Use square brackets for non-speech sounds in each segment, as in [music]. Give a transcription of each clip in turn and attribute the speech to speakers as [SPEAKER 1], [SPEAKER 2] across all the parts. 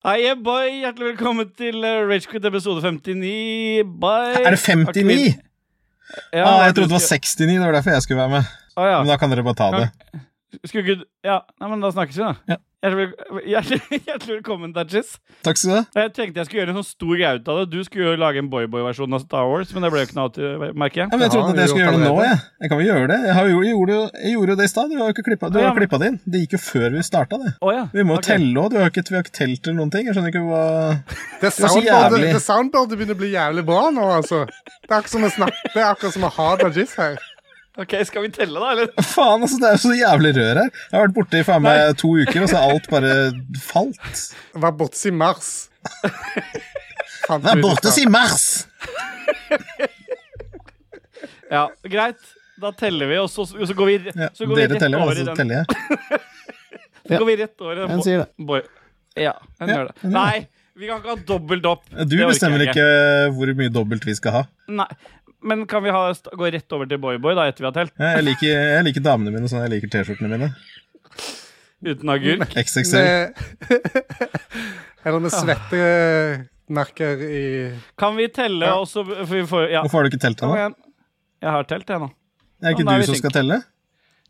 [SPEAKER 1] Hei, yeah, boy! Hjertelig velkommen til eh, Ragequit episode 59. Bye!
[SPEAKER 2] Er det 59?
[SPEAKER 1] Ja,
[SPEAKER 2] ah, jeg trodde det var 69, det var derfor jeg skulle være med.
[SPEAKER 1] Å, Ah, ja.
[SPEAKER 2] Men da kan dere bare ta det.
[SPEAKER 1] Skulle ikke Ja, nei, men da snakkes vi, da.
[SPEAKER 2] Ja.
[SPEAKER 1] Hjertelig, vel- [laughs] hjertelig, hjertelig velkommen, Tatchis.
[SPEAKER 2] Takk skal du ha.
[SPEAKER 1] Jeg tenkte jeg skulle gjøre en sånn stor greie ut av det. Du skulle jo lage en boyboy-versjon av Star Wars, men det ble jo ikke noe av, til- merker jeg.
[SPEAKER 2] Ja, men jeg
[SPEAKER 3] Det har
[SPEAKER 2] trodde at
[SPEAKER 3] vi
[SPEAKER 2] jeg skulle
[SPEAKER 3] gjort
[SPEAKER 2] gjøre det nå,
[SPEAKER 3] allerede.
[SPEAKER 2] jeg. Jeg kan vel gjøre det. Jeg, har jo, jeg, gjorde, jo, jeg gjorde jo det i stad. Du har jo ikke klippa,
[SPEAKER 1] Ja,
[SPEAKER 2] du har
[SPEAKER 1] ja, men-
[SPEAKER 2] klippa det inn. Det gikk jo før vi starta, det.
[SPEAKER 1] Å ja.
[SPEAKER 2] Vi må jo
[SPEAKER 1] ok.
[SPEAKER 2] telle òg. Vi har ikke telt eller noen ting. Jeg skjønner ikke hva
[SPEAKER 3] Det
[SPEAKER 2] så
[SPEAKER 3] soundboardet,
[SPEAKER 2] jævlig.
[SPEAKER 3] det soundboardet begynner å bli jævlig bra nå, altså. Det er akkurat som å snakke, det er akkurat som å ha Dajis her.
[SPEAKER 1] Ok, skal vi telle,
[SPEAKER 2] [laughs]
[SPEAKER 1] da, eller?
[SPEAKER 2] Faen, altså. Det er jo så jævlig rør her. Jeg har vært borte i faen meg to uker, og så har alt bare falt.
[SPEAKER 3] Var borte i mars. Fant
[SPEAKER 2] Vær
[SPEAKER 3] vi ut
[SPEAKER 2] borte
[SPEAKER 3] av.
[SPEAKER 2] siden mars!
[SPEAKER 1] Ja, greit. Da teller vi, og så, og så går vi, rett-
[SPEAKER 2] Ja,
[SPEAKER 1] så går vi
[SPEAKER 2] dere
[SPEAKER 1] rett
[SPEAKER 2] teller,
[SPEAKER 1] over
[SPEAKER 2] altså.
[SPEAKER 1] i
[SPEAKER 2] Så
[SPEAKER 1] den.
[SPEAKER 2] teller jeg.
[SPEAKER 1] Så går vi rett over i den.
[SPEAKER 4] En sier det.
[SPEAKER 1] Boy. Ja, en
[SPEAKER 2] Ja,
[SPEAKER 1] gjør det.
[SPEAKER 2] en gjør
[SPEAKER 1] Nei, vi kan ikke ha dobbelt opp.
[SPEAKER 2] Du
[SPEAKER 1] Det orker
[SPEAKER 2] bestemmer
[SPEAKER 1] jeg
[SPEAKER 2] ikke hvor mye dobbelt vi skal ha.
[SPEAKER 1] Nei, Men kan vi ha, st- gå rett over til Boyboy da, etter vi har telt?
[SPEAKER 2] Jeg liker, jeg liker damene mine sånn jeg liker T-skjortene mine.
[SPEAKER 1] Uten agurk?
[SPEAKER 2] XXL.
[SPEAKER 3] Med- [laughs] Eller med svettemerker i
[SPEAKER 1] Kan vi telle,
[SPEAKER 3] Ja.
[SPEAKER 1] og så for vi får, Ja,
[SPEAKER 2] Hvorfor har du ikke telt
[SPEAKER 1] kom
[SPEAKER 2] ennå?
[SPEAKER 1] igjen. Jeg har telt, jeg nå.
[SPEAKER 2] Er det
[SPEAKER 1] Ja, men da
[SPEAKER 2] ikke
[SPEAKER 1] er
[SPEAKER 2] du
[SPEAKER 1] vi
[SPEAKER 2] som
[SPEAKER 1] synk.
[SPEAKER 2] skal telle?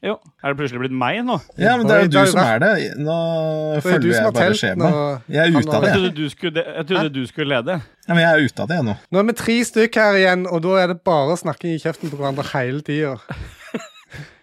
[SPEAKER 1] Jo. Er det plutselig blitt meg nå?
[SPEAKER 2] Ja, men det er
[SPEAKER 3] Oi,
[SPEAKER 2] jo
[SPEAKER 3] det er
[SPEAKER 2] du
[SPEAKER 3] jo
[SPEAKER 2] som
[SPEAKER 3] der.
[SPEAKER 2] er det. Nå
[SPEAKER 3] Det er du
[SPEAKER 2] følger
[SPEAKER 3] som
[SPEAKER 2] jeg
[SPEAKER 3] har
[SPEAKER 2] bare
[SPEAKER 3] telt nå.
[SPEAKER 2] skjema. Jeg er ute av
[SPEAKER 3] Han
[SPEAKER 2] det.
[SPEAKER 1] Jeg
[SPEAKER 2] jeg.
[SPEAKER 1] trodde du skulle, jeg trodde du skulle lede.
[SPEAKER 2] Ja, men jeg er ute av det, jeg nå.
[SPEAKER 3] Nå er vi tre stykk her igjen, og da er det bare snakking i kjeften på hverandre hele tida.